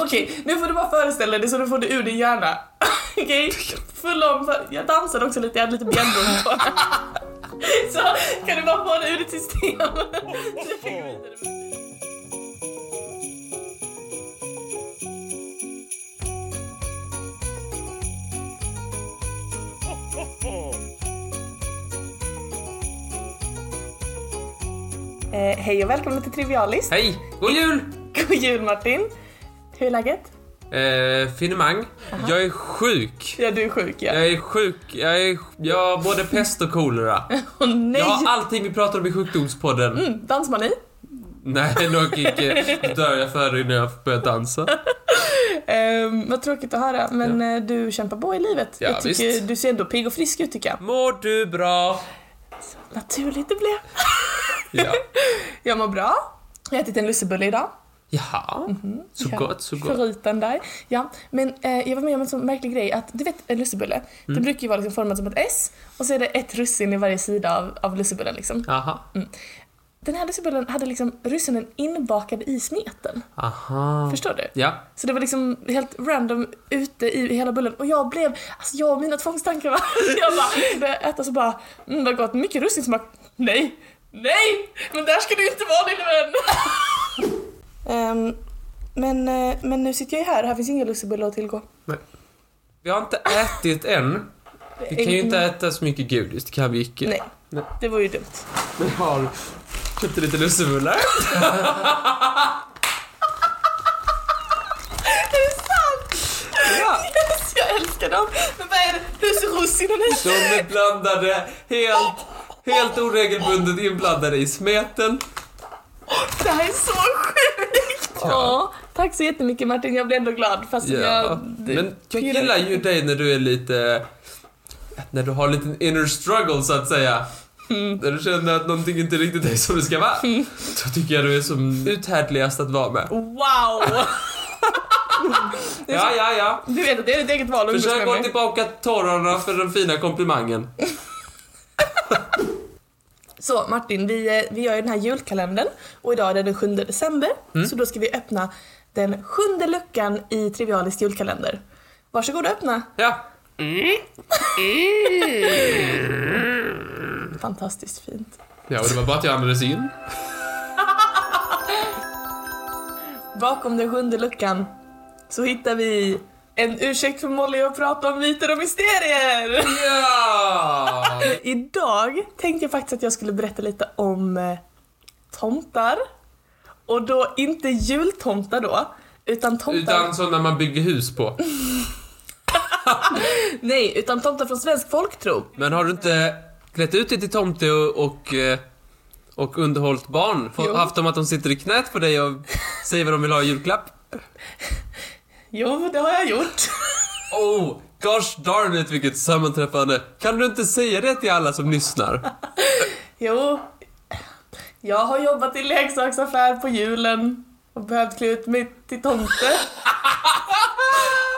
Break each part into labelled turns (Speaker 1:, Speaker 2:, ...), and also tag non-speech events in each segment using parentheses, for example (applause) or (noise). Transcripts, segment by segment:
Speaker 1: Okej, nu får du bara föreställa dig så du får det ur din hjärna. (laughs) Okej? Full om, jag dansade också lite, jag hade lite benbrott på. (laughs) Så kan du bara få det ur ditt system. (laughs) Så jag kan gå vidare. Eh, hej och välkomna till Trivialist.
Speaker 2: Hej! God jul!
Speaker 1: God jul Martin! Hur är läget?
Speaker 2: Eh, finemang. Jag är sjuk. Eh,
Speaker 1: Ja, du är sjuk ja.
Speaker 2: Jag är sjuk. Jag är... Jag har både pest och kolera.
Speaker 1: Åh nej!
Speaker 2: Jag har allting vi pratar om i sjukdomspodden.
Speaker 1: Mm, dansmani.
Speaker 2: Nej, nog inte. Då dör jag före innan jag börjar dansa.
Speaker 1: Ehm, vad tråkigt att höra, men eh, du kämpar på i livet.
Speaker 2: Ja,
Speaker 1: jag tycker,
Speaker 2: visst.
Speaker 1: Du ser ändå pigg och frisk ut tycker jag.
Speaker 2: Mår du bra?
Speaker 1: Naturligt det blev.
Speaker 2: Ja.
Speaker 1: Jag mår bra. Jag har ätit en lussebulle idag.
Speaker 2: Jaha. Så
Speaker 1: Mhm. Ja,
Speaker 2: gott, så gott.
Speaker 1: Favoriten där. Ja, men eh, jag var med om en sån märklig grej att, du vet en lussebulle, det
Speaker 2: Mm.
Speaker 1: brukar ju vara liksom format som ett S och så är det ett russin i varje sida av, av lussebullen liksom.
Speaker 2: Aha.
Speaker 1: Den här lussebullen hade liksom russinen inbakade i smeten.
Speaker 2: Aha.
Speaker 1: Förstår du?
Speaker 2: Ja.
Speaker 1: Så det var liksom helt random ute i hela bullen och jag blev, alltså jag och mina tvångstankar va. (laughs) Jag bara, när jag äter så bara, mm vad gott, mycket russinsmak. Nej, nej, men där ska du inte vara lille vän. (laughs) Ehm, men, eh, men nu sitter jag ju här och här finns inga lussebullar att tillgå.
Speaker 2: Men, vi har inte ätit än. Vi kan ju inte äta så mycket godis, det kan vi icke.
Speaker 1: Nej,
Speaker 2: Nej.
Speaker 1: det var ju dumt.
Speaker 2: Men har köpt lite lussebullar.
Speaker 1: Är det sant?
Speaker 2: Ja.
Speaker 1: Yes, jag älskar dem. Men vad är det, hur ser russinen
Speaker 2: De
Speaker 1: ut?
Speaker 2: är blandade, helt, helt oregelbundet inblandade i smeten.
Speaker 1: Det här är så sjukt! Ja. tack så jättemycket Martin, jag blir ändå glad fast
Speaker 2: Ja.
Speaker 1: jag...
Speaker 2: Men jag
Speaker 1: pirrar-
Speaker 2: gillar ju dig när du är lite... När du har en liten inner struggle så att säga. När du känner att någonting inte riktigt är som det ska vara. Så tycker jag du är som uthärdligast att vara med.
Speaker 1: Wow!
Speaker 2: Ja, ja, ja.
Speaker 1: (laughs) Du vet att det är ditt eget val att umgås
Speaker 2: Försök
Speaker 1: med
Speaker 2: gå
Speaker 1: mig.
Speaker 2: tillbaka till tårarna för den fina komplimangen.
Speaker 1: Så Martin, vi, eh, vi gör ju den här julkalendern och idag är det den 7 december.
Speaker 2: Mm.
Speaker 1: Så då ska vi öppna den sjunde luckan i Trivialis julkalender. Varsågod och öppna.
Speaker 2: Ja.
Speaker 1: Fantastiskt fint.
Speaker 2: Ja, och det var bara att jag andades in.
Speaker 1: Bakom den sjunde luckan så hittar vi en ursäkt för Molly att prata om myter och mysterier.
Speaker 2: (laughs) Ja!
Speaker 1: Idag tänkte jag faktiskt att jag skulle berätta lite om eh, tomtar. Och då inte jultomtar då, utan tomtar...
Speaker 2: Utan sådana man bygger hus på.
Speaker 1: Nej, utan tomtar från svensk folktro.
Speaker 2: Men har du inte klätt ut dig till tomte och, och, eh, och underhållit barn? Få-
Speaker 1: Jo.
Speaker 2: Haft dem att de sitter i knät på dig och säger vad de vill ha i julklapp?
Speaker 1: Jo, det har jag gjort.
Speaker 2: Oh, gosh darn it vilket sammanträffande! Kan du inte säga det till alla som lyssnar?
Speaker 1: Jo, jag har jobbat i leksaksaffär på julen och behövt klä ut mig till tomte.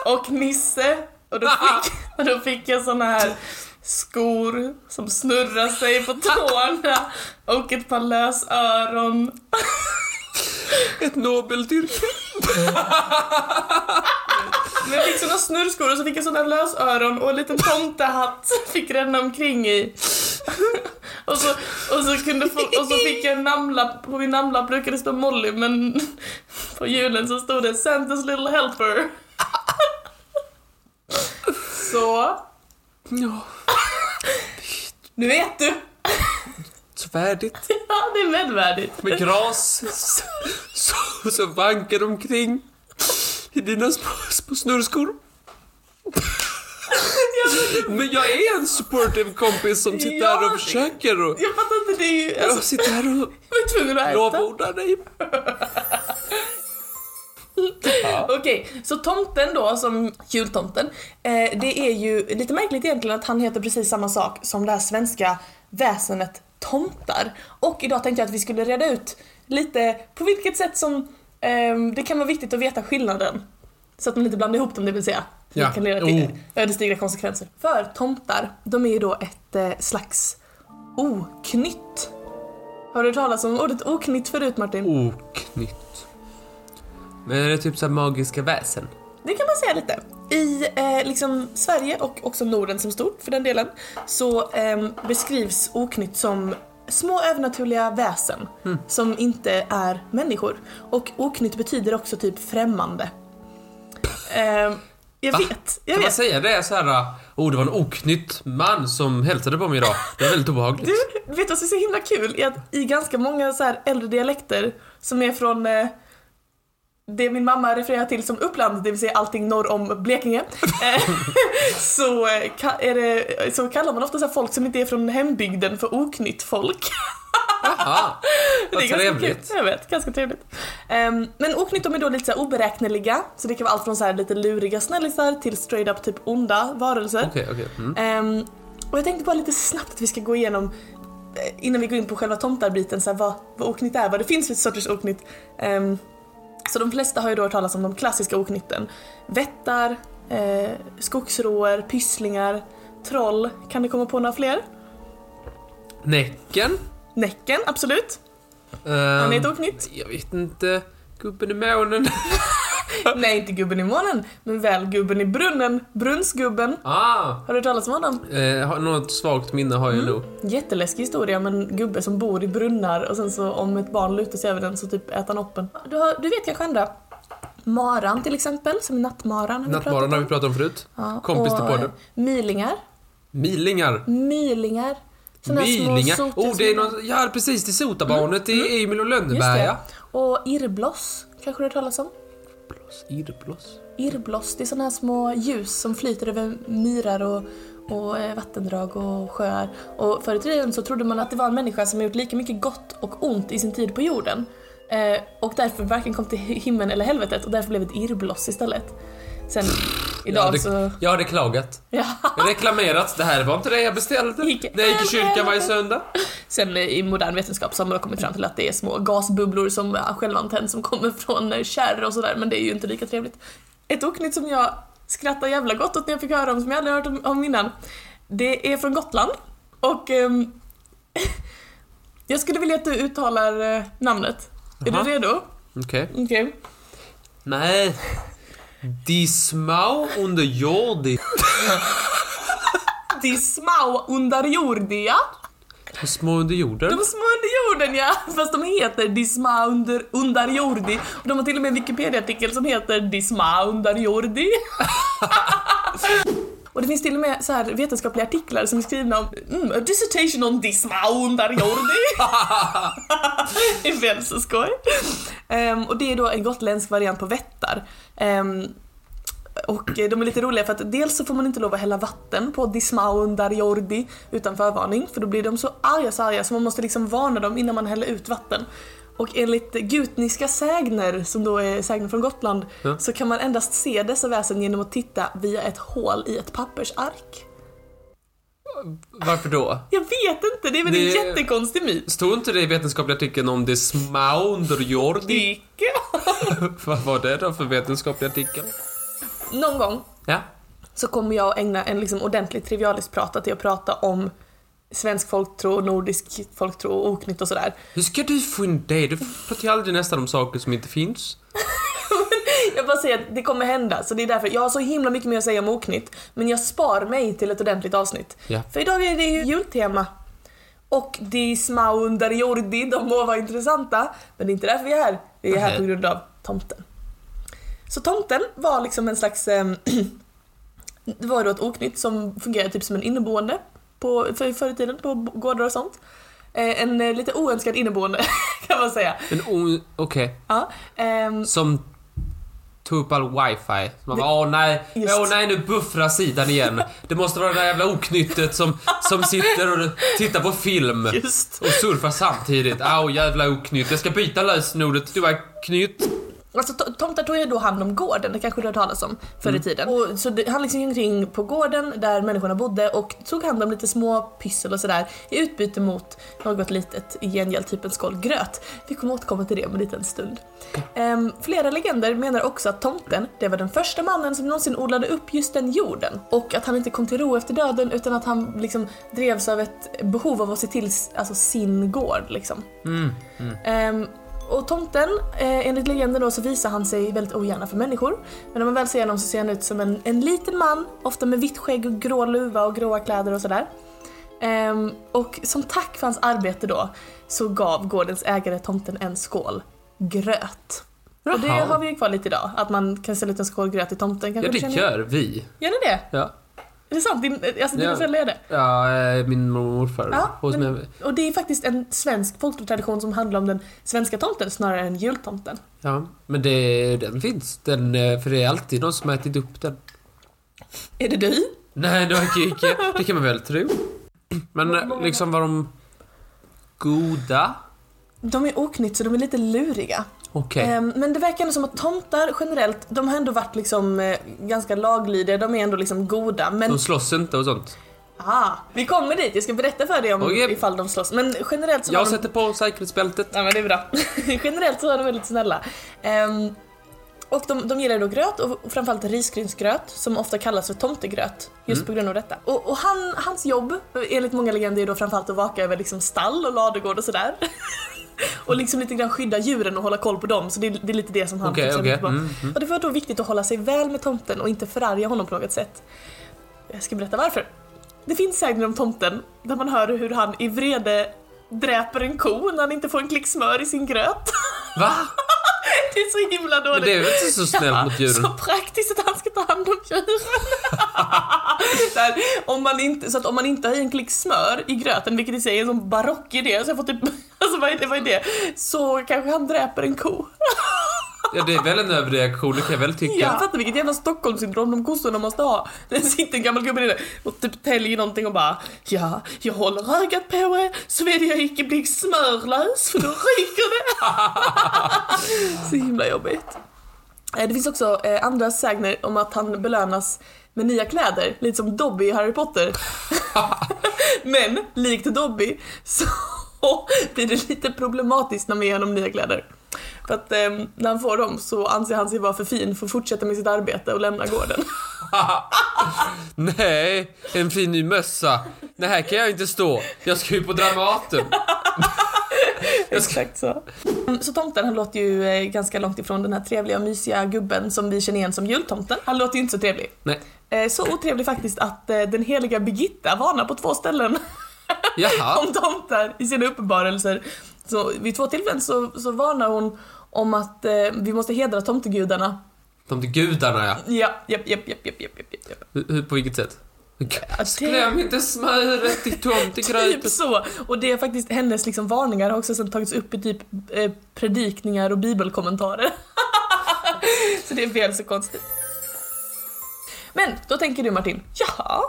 Speaker 1: Och nisse. Och då fick, och då fick jag såna här skor som snurrar sig på tårna och ett par lösöron.
Speaker 2: Ett nobelt yrke.
Speaker 1: Men jag fick såna snurrskor och så fick jag såna lösöron och en liten tomtehatt fick ränna omkring i. (laughs) Och så, och så, kunde få, och så fick jag en namnlapp, på min namnlapp brukade det stå Molly men (laughs) på julen så stod det Santas little helper. (laughs) Så,
Speaker 2: Ja,
Speaker 1: nu vet du! (laughs)
Speaker 2: så värdigt.
Speaker 1: Ja, det är medvärdigt.
Speaker 2: Med gras så, så, så vankar de omkring i dina små, små snurrskor. Men jag är en supportive kompis som sitter här
Speaker 1: Ja,
Speaker 2: och
Speaker 1: det-
Speaker 2: försöker och
Speaker 1: Jag fattar inte, det är ju...
Speaker 2: Jag
Speaker 1: Alltså,
Speaker 2: sitter här och
Speaker 1: jag var tvungen att äta.
Speaker 2: lovordar dig.
Speaker 1: Okej, så tomten då som jultomten, eh, det är ju lite märkligt egentligen att han heter precis samma sak som det här svenska väsenet tomtar. Och idag tänkte jag att vi skulle reda ut lite på vilket sätt som eh, det kan vara viktigt att veta skillnaden. Så att man inte blandar ihop dem det vill säga.
Speaker 2: Ja.
Speaker 1: Det kan leda till
Speaker 2: Oh.
Speaker 1: ödesdigra konsekvenser. För tomtar, de är ju då ett eh, slags oknytt. Har du hört talas om ordet oknytt förut Martin?
Speaker 2: Oknytt. Men är det typ så här magiska väsen?
Speaker 1: Det kan man säga lite. I eh, liksom Sverige och också Norden som stort för den delen så ehm, beskrivs oknytt som små övernaturliga väsen
Speaker 2: Mm.
Speaker 1: som inte är människor. Och oknytt betyder också typ främmande. Ehm, jag
Speaker 2: Va?
Speaker 1: vet, jag
Speaker 2: kan man
Speaker 1: vet.
Speaker 2: säga det är så här, oh det var en oknytt man som hälsade på mig idag. Det var väldigt obehagligt.
Speaker 1: Du, vet vad som är så himla kul? Är att i ganska många så här äldre dialekter som är från eh, det min mamma refererar till som Uppland, det vill säga allting norr om Blekinge, eh, (laughs) så, eh, ka- är det, så kallar man ofta så här folk som inte är från hembygden för oknytt folk. (laughs)
Speaker 2: Aha,
Speaker 1: Det
Speaker 2: vad
Speaker 1: är ganska kul.
Speaker 2: trevligt.
Speaker 1: Jag vet, ganska trevligt. Ehm, men oknytt de är då lite så här oberäkneliga, så det kan vara allt från så här lite luriga snällisar till straight up typ onda varelser.
Speaker 2: Okej, okej. Mm.
Speaker 1: Ehm, och jag tänkte bara lite snabbt att vi ska gå igenom eh, innan vi går in på själva tomtarbiten, så här, vad, vad oknytt är, vad det finns för sorters oknytt. Ehm, så de flesta har ju då hört talas om de klassiska oknytten. Vättar, eh, skogsråer, pysslingar, troll. Kan du komma på några fler?
Speaker 2: Näcken?
Speaker 1: Näcken, absolut. Han är ett
Speaker 2: Um,
Speaker 1: oknytt.
Speaker 2: jag vet inte. Gubben i månen. (laughs)
Speaker 1: Nej, inte gubben i månen, men väl gubben i brunnen. Brunnsgubben.
Speaker 2: ah,
Speaker 1: Har du hört talas om honom?
Speaker 2: eh, har- något svagt minne har jag
Speaker 1: Mm.
Speaker 2: nog.
Speaker 1: Jätteläskig historia om en gubbe som bor i brunnar och sen så om ett barn lutar sig över den så typ äter han upp den. Du, har, du vet kanske andra? Maran till exempel, som är nattmaran. har vi pratat
Speaker 2: Nattmaran har
Speaker 1: om.
Speaker 2: vi pratat om förut.
Speaker 1: Ja,
Speaker 2: Kompis till
Speaker 1: och,
Speaker 2: podden.
Speaker 1: eh, Milingar.
Speaker 2: Milingar.
Speaker 1: Mylingar. Såna här små
Speaker 2: Milingar.
Speaker 1: sotiga
Speaker 2: Oh, det är
Speaker 1: små- Mm.
Speaker 2: någon, ja precis, det är sotabarnet i Emil och Lönneberga.
Speaker 1: Just det. Och irrbloss, kanske du har hört talas om?
Speaker 2: Irrbloss.
Speaker 1: Irrbloss, det är såna här små ljus som flyter över myrar och, och eh, vattendrag och sjöar. Och förr i tiden så trodde man att det var en människa som gjort lika mycket gott och ont i sin tid på jorden. Eh, och därför varken kom till hi- himlen eller helvetet och därför blev det ett irrbloss istället. Sen
Speaker 2: Jag
Speaker 1: idag
Speaker 2: hade,
Speaker 1: så... (laughs)
Speaker 2: jag hade klagat.
Speaker 1: Ja.
Speaker 2: Reklamerat. Det här var inte det jag beställde.
Speaker 1: Ah! Gick-
Speaker 2: När jag gick i kyrkan varje söndag.
Speaker 1: Sen eh, i modern vetenskap så har man kommit fram till att det är små gasbubblor som eh, självantänds som kommer från eh, kärr och sådär men det är ju inte lika trevligt. Ett oknytt som jag skrattar jävla gott åt när jag fick höra om som jag aldrig hört om, om innan. Det är från Gotland och ehm, (laughs) jag skulle vilja att du uttalar eh, namnet. Är
Speaker 2: Jaha.
Speaker 1: du redo?
Speaker 2: Okej.
Speaker 1: Okej.
Speaker 2: Nej. Die Smau under Jordi.
Speaker 1: De små underjordiga.
Speaker 2: De små under jorden.
Speaker 1: De små under jorden ja! (laughs) Fast de heter De små under, underjordi. Och de har till och med en Wikipedia-artikel som heter De små underjordi. (laughs) Och det finns till och med så här vetenskapliga artiklar som är skrivna om mm, a dissertation on De små underjordi. (laughs) det är väl så skoj. Ehm, och det är då en gotländsk variant på vättar. Ehm, och eh, de är lite roliga för att dels så får man inte lov att hälla vatten på Dismaundar Jordi utan förvarning för då blir de så arga så arga så man måste liksom varna dem innan man häller ut vatten. Och enligt gutniska sägner, som då är sägner från Gotland,
Speaker 2: Ja.
Speaker 1: så kan man endast se dessa väsen genom att titta via ett hål i ett pappersark.
Speaker 2: Varför då?
Speaker 1: Jag vet inte, det är väl
Speaker 2: Det-
Speaker 1: en jättekonstig myt?
Speaker 2: Stod inte det i vetenskapliga artikeln om Die Smau under Jordi?
Speaker 1: Icke.
Speaker 2: (laughs) Vad var det då för vetenskaplig artikel?
Speaker 1: (laughs) Någon gång
Speaker 2: Ja.
Speaker 1: så kommer jag att ägna en liksom ordentlig trivialisk prata till att prata om svensk folktro, nordisk folktro och oknytt och sådär.
Speaker 2: Hur ska du få in det? Du pratar ju aldrig nästan om saker som inte finns.
Speaker 1: Jag bara säger att det kommer hända, så det är därför. Jag har så himla mycket mer att säga om oknytt, men jag spar mig till ett ordentligt avsnitt.
Speaker 2: Ja.
Speaker 1: För idag är det ju jultema. Och de små under jordi, de må vara intressanta, men det är inte därför vi är här. Vi är här
Speaker 2: Nej.
Speaker 1: på grund av tomten. Så tomten var liksom en slags... ehm, (clears throat) det var då ett oknytt som fungerade typ som en inneboende på, för, förr i tiden på gårdar och sånt. Eh, en eh, lite oönskad inneboende (laughs) kan man säga.
Speaker 2: Men o- okej.
Speaker 1: Ja, ehm,
Speaker 2: Som tog upp all wifi. Så Man
Speaker 1: Det-
Speaker 2: bara, åh nej,
Speaker 1: Just.
Speaker 2: åh nej nu buffrar sidan igen. Det måste vara det där jävla oknyttet som, som sitter och tittar på film.
Speaker 1: just.
Speaker 2: Och surfar samtidigt. Au jävla oknytt. Jag ska byta lösenordet. Du var knytt.
Speaker 1: Alltså to- tomtar tog ju då hand om gården, det kanske du har hört talas om förr i tiden. Och, så det, han liksom gick omkring på gården där människorna bodde och tog hand om lite små pyssel och sådär i utbyte mot något litet, i gengäld typ en skål gröt. Vi kommer återkomma till det om en liten stund. Ehm, flera legender menar också att tomten, det var den första mannen som någonsin odlade upp just den jorden och att han inte kom till ro efter döden utan att han liksom
Speaker 2: Mm.
Speaker 1: drevs av ett behov av att se till s- alltså, sin gård liksom. Ehm, Och tomten, eh, enligt legenden då så visar han sig väldigt ogärna för människor. Men när man väl ser honom så ser han ut som en, en liten man, ofta med vitt skägg och grå luva och gråa kläder och sådär. Ehm, och som tack för hans arbete då så gav gårdens ägare tomten en skål gröt. Och det
Speaker 2: Jaha.
Speaker 1: har vi ju kvar lite idag, att man kan ställa ut en skål gröt till tomten. Kanske
Speaker 2: Ja,
Speaker 1: du
Speaker 2: det
Speaker 1: känner-
Speaker 2: gör vi.
Speaker 1: Gör ni det?
Speaker 2: Ja.
Speaker 1: Är det sant? Din, alltså dina
Speaker 2: Ja.
Speaker 1: föräldrar gör det?
Speaker 2: Ja, eh, min mormor och morfar.
Speaker 1: Ja,
Speaker 2: Hos
Speaker 1: men-
Speaker 2: mig.
Speaker 1: Och det är faktiskt en svensk folktradition som handlar om den svenska tomten snarare än jultomten.
Speaker 2: ja, men det, den finns. Den, eh, för det är alltid någon som har ätit upp den.
Speaker 1: Är det du?
Speaker 2: Nej, det har jag inte. Det kan man väl tro. Men eh, liksom var de goda?
Speaker 1: De är oknytt så de är lite luriga.
Speaker 2: Okej.
Speaker 1: Ehm, Men det verkar ändå som att tomtar generellt, de har ändå varit liksom eh, ganska laglydiga, de är ändå liksom goda. Men
Speaker 2: De slåss inte och sånt.
Speaker 1: ah, vi kommer dit, jag ska berätta för dig om
Speaker 2: Okej.
Speaker 1: ifall de slåss. Men generellt så har
Speaker 2: Jag
Speaker 1: de...
Speaker 2: sätter på säkerhetsbältet.
Speaker 1: Ja men det är bra. (laughs) Generellt så är de väldigt snälla. Ehm, och de, de gillar då gröt och framförallt risgrynsgröt som ofta kallas för tomtegröt just
Speaker 2: Mm.
Speaker 1: på grund av detta. Och, och han, hans jobb enligt många legender är då framförallt att vaka över liksom stall och ladugård och sådär. (laughs) och liksom lite grann skydda djuren och hålla koll på dem så det, är- det är lite det som han
Speaker 2: Okej,
Speaker 1: fokuserar
Speaker 2: okej.
Speaker 1: mycket på.
Speaker 2: Mm,
Speaker 1: Och det var då viktigt att hålla sig väl med tomten och inte förarga honom på något sätt. Jag ska berätta varför. Det finns sägner om tomten där man hör hur han i vrede dräper en ko när han inte får en klick smör i sin gröt. (laughs)
Speaker 2: Va?
Speaker 1: Det är så himla
Speaker 2: Men
Speaker 1: dåligt.
Speaker 2: det är väl inte så snällt mot djuren?
Speaker 1: Så praktiskt att han ska ta hand om djuren. (laughs) Där, om man inte, så att om man inte har i en klick smör i gröten, vilket i sig är en sån barock idé, så jag får typ, (laughs) alltså vad är det, vad är det? Så kanske han dräper en ko.
Speaker 2: Ja, det är väl en överreaktion, det kan jag väl tycka.
Speaker 1: Jag fattar vilket jävla Stockholmssyndrom de kossorna måste ha. Det sitter en gammal gubbe inne och typ täljer någonting och bara Ja, jag håller ögat på er så vill jag icke bli smörlös för då ryker det. (laughs) så himla jobbigt. Eh, Det finns också eh, andra sägner om att han belönas med nya kläder, lite som Dobby i Harry Potter. Men likt Dobby så (laughs) blir det lite problematiskt när man ger honom nya kläder. För att eh, när han får dem så anser han sig vara för fin för att fortsätta med sitt arbete och lämna gården.
Speaker 2: Nej, en fin ny mössa. Nej, här kan jag inte stå. Jag ska ju på Dramaten.
Speaker 1: Exakt så. Mm, Så tomten han låter ju eh, ganska långt ifrån den här trevliga och mysiga gubben som vi känner igen som jultomten. Han låter ju inte så trevlig.
Speaker 2: Nej,
Speaker 1: Eh, Så otrevlig faktiskt att eh, den heliga Birgitta varnar på två ställen (laughs)
Speaker 2: jaha.
Speaker 1: om tomtar i sina uppenbarelser. Så vid två tillfällen så, så varnar hon om att eh, vi måste hedra tomtegudarna.
Speaker 2: De till gudarna ja.
Speaker 1: Ja, japp, japp, japp, japp, japp, japp, japp.
Speaker 2: Hur- hur- På vilket sätt?
Speaker 1: det-
Speaker 2: Glöm inte smöret i
Speaker 1: Typ
Speaker 2: tomtegröten.
Speaker 1: så! Och det är faktiskt hennes liksom varningar har också sen tagits upp i typ eh, predikningar och bibelkommentarer. (laughs) så det är väl så konstigt. Men då tänker du Martin, jaha?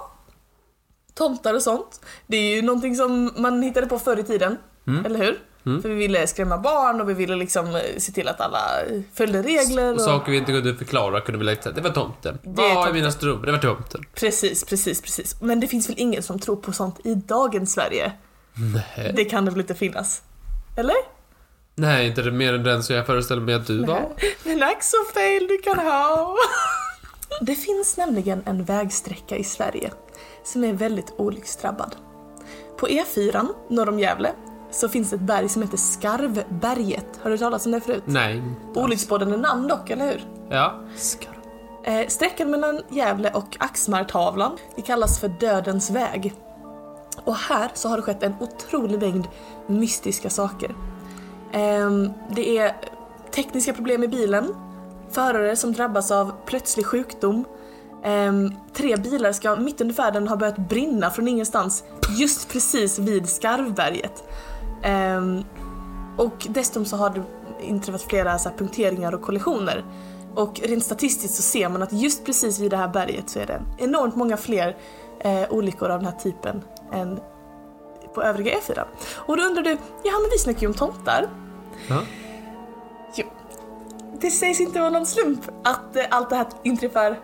Speaker 1: Tomtar och sånt, det är ju någonting som man hittade på förr i tiden, eller hur? För vi ville skrämma barn och vi ville liksom eh, se till att alla eh, följde regler.
Speaker 2: Och saker vi inte kunde förklara kunde vi lägga till. Det var tomten.
Speaker 1: Det är
Speaker 2: Vad är
Speaker 1: tomten.
Speaker 2: mina strumpor? Det var tomten.
Speaker 1: Precis, precis, precis. Men det finns väl ingen som tror på sånt i dagens Sverige?
Speaker 2: Nej.
Speaker 1: Det kan det väl inte finnas? Eller?
Speaker 2: Nej, inte det mer än den som jag föreställer mig att du var.
Speaker 1: Men ack så fel du kan ha. Det finns nämligen en vägsträcka i Sverige som är väldigt olycksdrabbad. På E4 norr om Gävle så finns ett berg som heter Skarvberget. Har du talat om det förut?
Speaker 2: Nej.
Speaker 1: Olycksbådande namn dock, eller hur?
Speaker 2: Ja.
Speaker 1: Eh, sträckan mellan Gävle och Axmartavlan det kallas för Dödens väg. Och här så har det skett en otrolig mängd mystiska saker. Ehm, det är tekniska problem i bilen, förare som drabbas av plötslig sjukdom, ehm, tre bilar ska mitt under färden ha börjat brinna från ingenstans just precis vid Skarvberget. Ehm, och dessutom så har det inträffat flera så här punkteringar och kollisioner. Och rent statistiskt så ser man att just precis vid det här berget så är det enormt många fler eh, olyckor av den här typen än på övriga E4. Och då undrar du, ja men vi snackar ju om tomtar.
Speaker 2: ja.
Speaker 1: Jo. Det sägs inte vara någon slump att eh, allt det här inträffar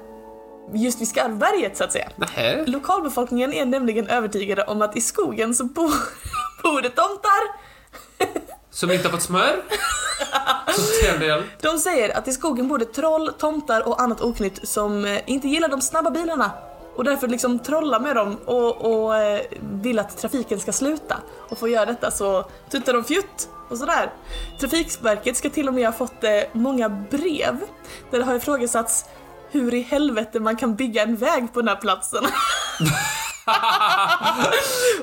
Speaker 1: just vid Skarvberget så att säga.
Speaker 2: Nej.
Speaker 1: Lokalbefolkningen är nämligen övertygade om att i skogen så bor, (laughs) bor det tomtar.
Speaker 2: Som inte har fått smör. Som tredjedel.
Speaker 1: De säger att i skogen bor det troll, tomtar och annat oknytt som eh, inte gillar de snabba bilarna. och därför liksom trollar med dem och, och eh, vill att trafiken ska sluta. Och för att göra detta så tutar de fjutt och sådär. Trafikverket ska till och med ha fått eh, många brev där det har ifrågasatts hur i helvete man kan bygga en väg på den här platsen. (laughs)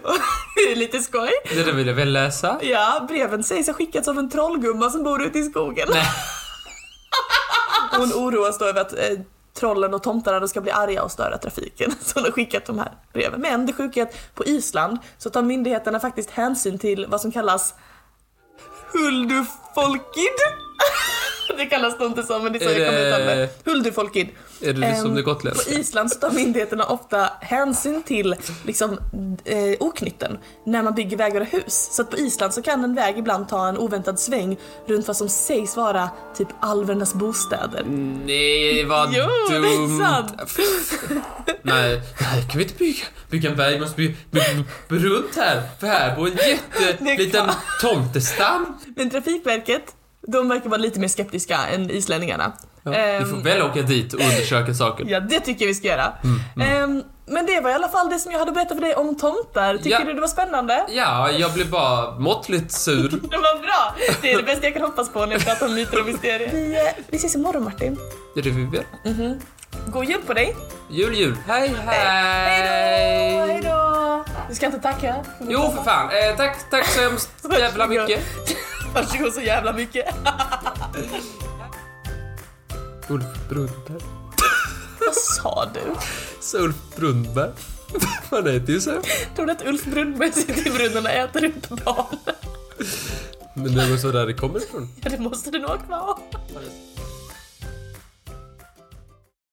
Speaker 1: Och det är lite skoj.
Speaker 2: Det där vill jag väl läsa?
Speaker 1: Ja, breven sägs ha skickats av en trollgumma som bor ute i skogen.
Speaker 2: Nej.
Speaker 1: (laughs) Hon oroas då över att eh, trollen och tomtarna då ska bli arga och störa trafiken. (laughs) Så hon har skickat de här breven. Men det sjuka är att på Island så tar myndigheterna faktiskt hänsyn till vad som kallas Huldufolkid. (laughs) Det kallas det inte så men det är så
Speaker 2: Är
Speaker 1: jag kommer
Speaker 2: det-
Speaker 1: uttala det. Huldufolkid.
Speaker 2: Är det liksom
Speaker 1: Ehm,
Speaker 2: det
Speaker 1: På
Speaker 2: gotländska?
Speaker 1: Island så tar myndigheterna ofta hänsyn till liksom, eh, oknytten när man bygger vägar och hus. Så att på Island så kan en väg ibland ta en oväntad sväng runt vad som sägs vara typ alvernas bostäder.
Speaker 2: Nej, vad
Speaker 1: Jo, det är
Speaker 2: dumt!
Speaker 1: sant.
Speaker 2: Nej, här kan vi inte bygga, bygga en väg, vi måste bygga, bygga, bygga runt här, för här bor en
Speaker 1: Det är
Speaker 2: jätteliten
Speaker 1: klart.
Speaker 2: tomtestam.
Speaker 1: Men Trafikverket, de verkar vara lite mer skeptiska än islänningarna.
Speaker 2: Ja,
Speaker 1: Ehm,
Speaker 2: vi får väl åka dit och undersöka saken.
Speaker 1: Ja, det tycker jag vi ska göra.
Speaker 2: Mm,
Speaker 1: Ehm, men det var i alla fall det som jag hade berättat för dig om tomtar. Tycker
Speaker 2: Ja.
Speaker 1: du det var spännande?
Speaker 2: Ja, jag blev bara måttligt sur.
Speaker 1: Det var bra! Det är det bästa jag kan hoppas på när jag pratar om myter och mysterier. Vi, eh, vi ses imorgon Martin.
Speaker 2: Det är det vi vill.
Speaker 1: God jul på dig!
Speaker 2: Jul, jul. Hej,
Speaker 1: Hej
Speaker 2: hej!
Speaker 1: då! Du ska inte tacka.
Speaker 2: Jo, för fan. Eh, tack, tack så hemskt jävla mycket.
Speaker 1: Varsågod så jävla mycket.
Speaker 2: Ulf Brunnberg.
Speaker 1: Vad sa du?
Speaker 2: Så Ulf Brunnberg. (laughs) Man heter ju så.
Speaker 1: Tror du att Ulf Brunnberg sitter i brunnen och äter upp barn?
Speaker 2: Men det var så där det kommer ifrån.
Speaker 1: Ja, det måste det nog vara.
Speaker 2: Har det-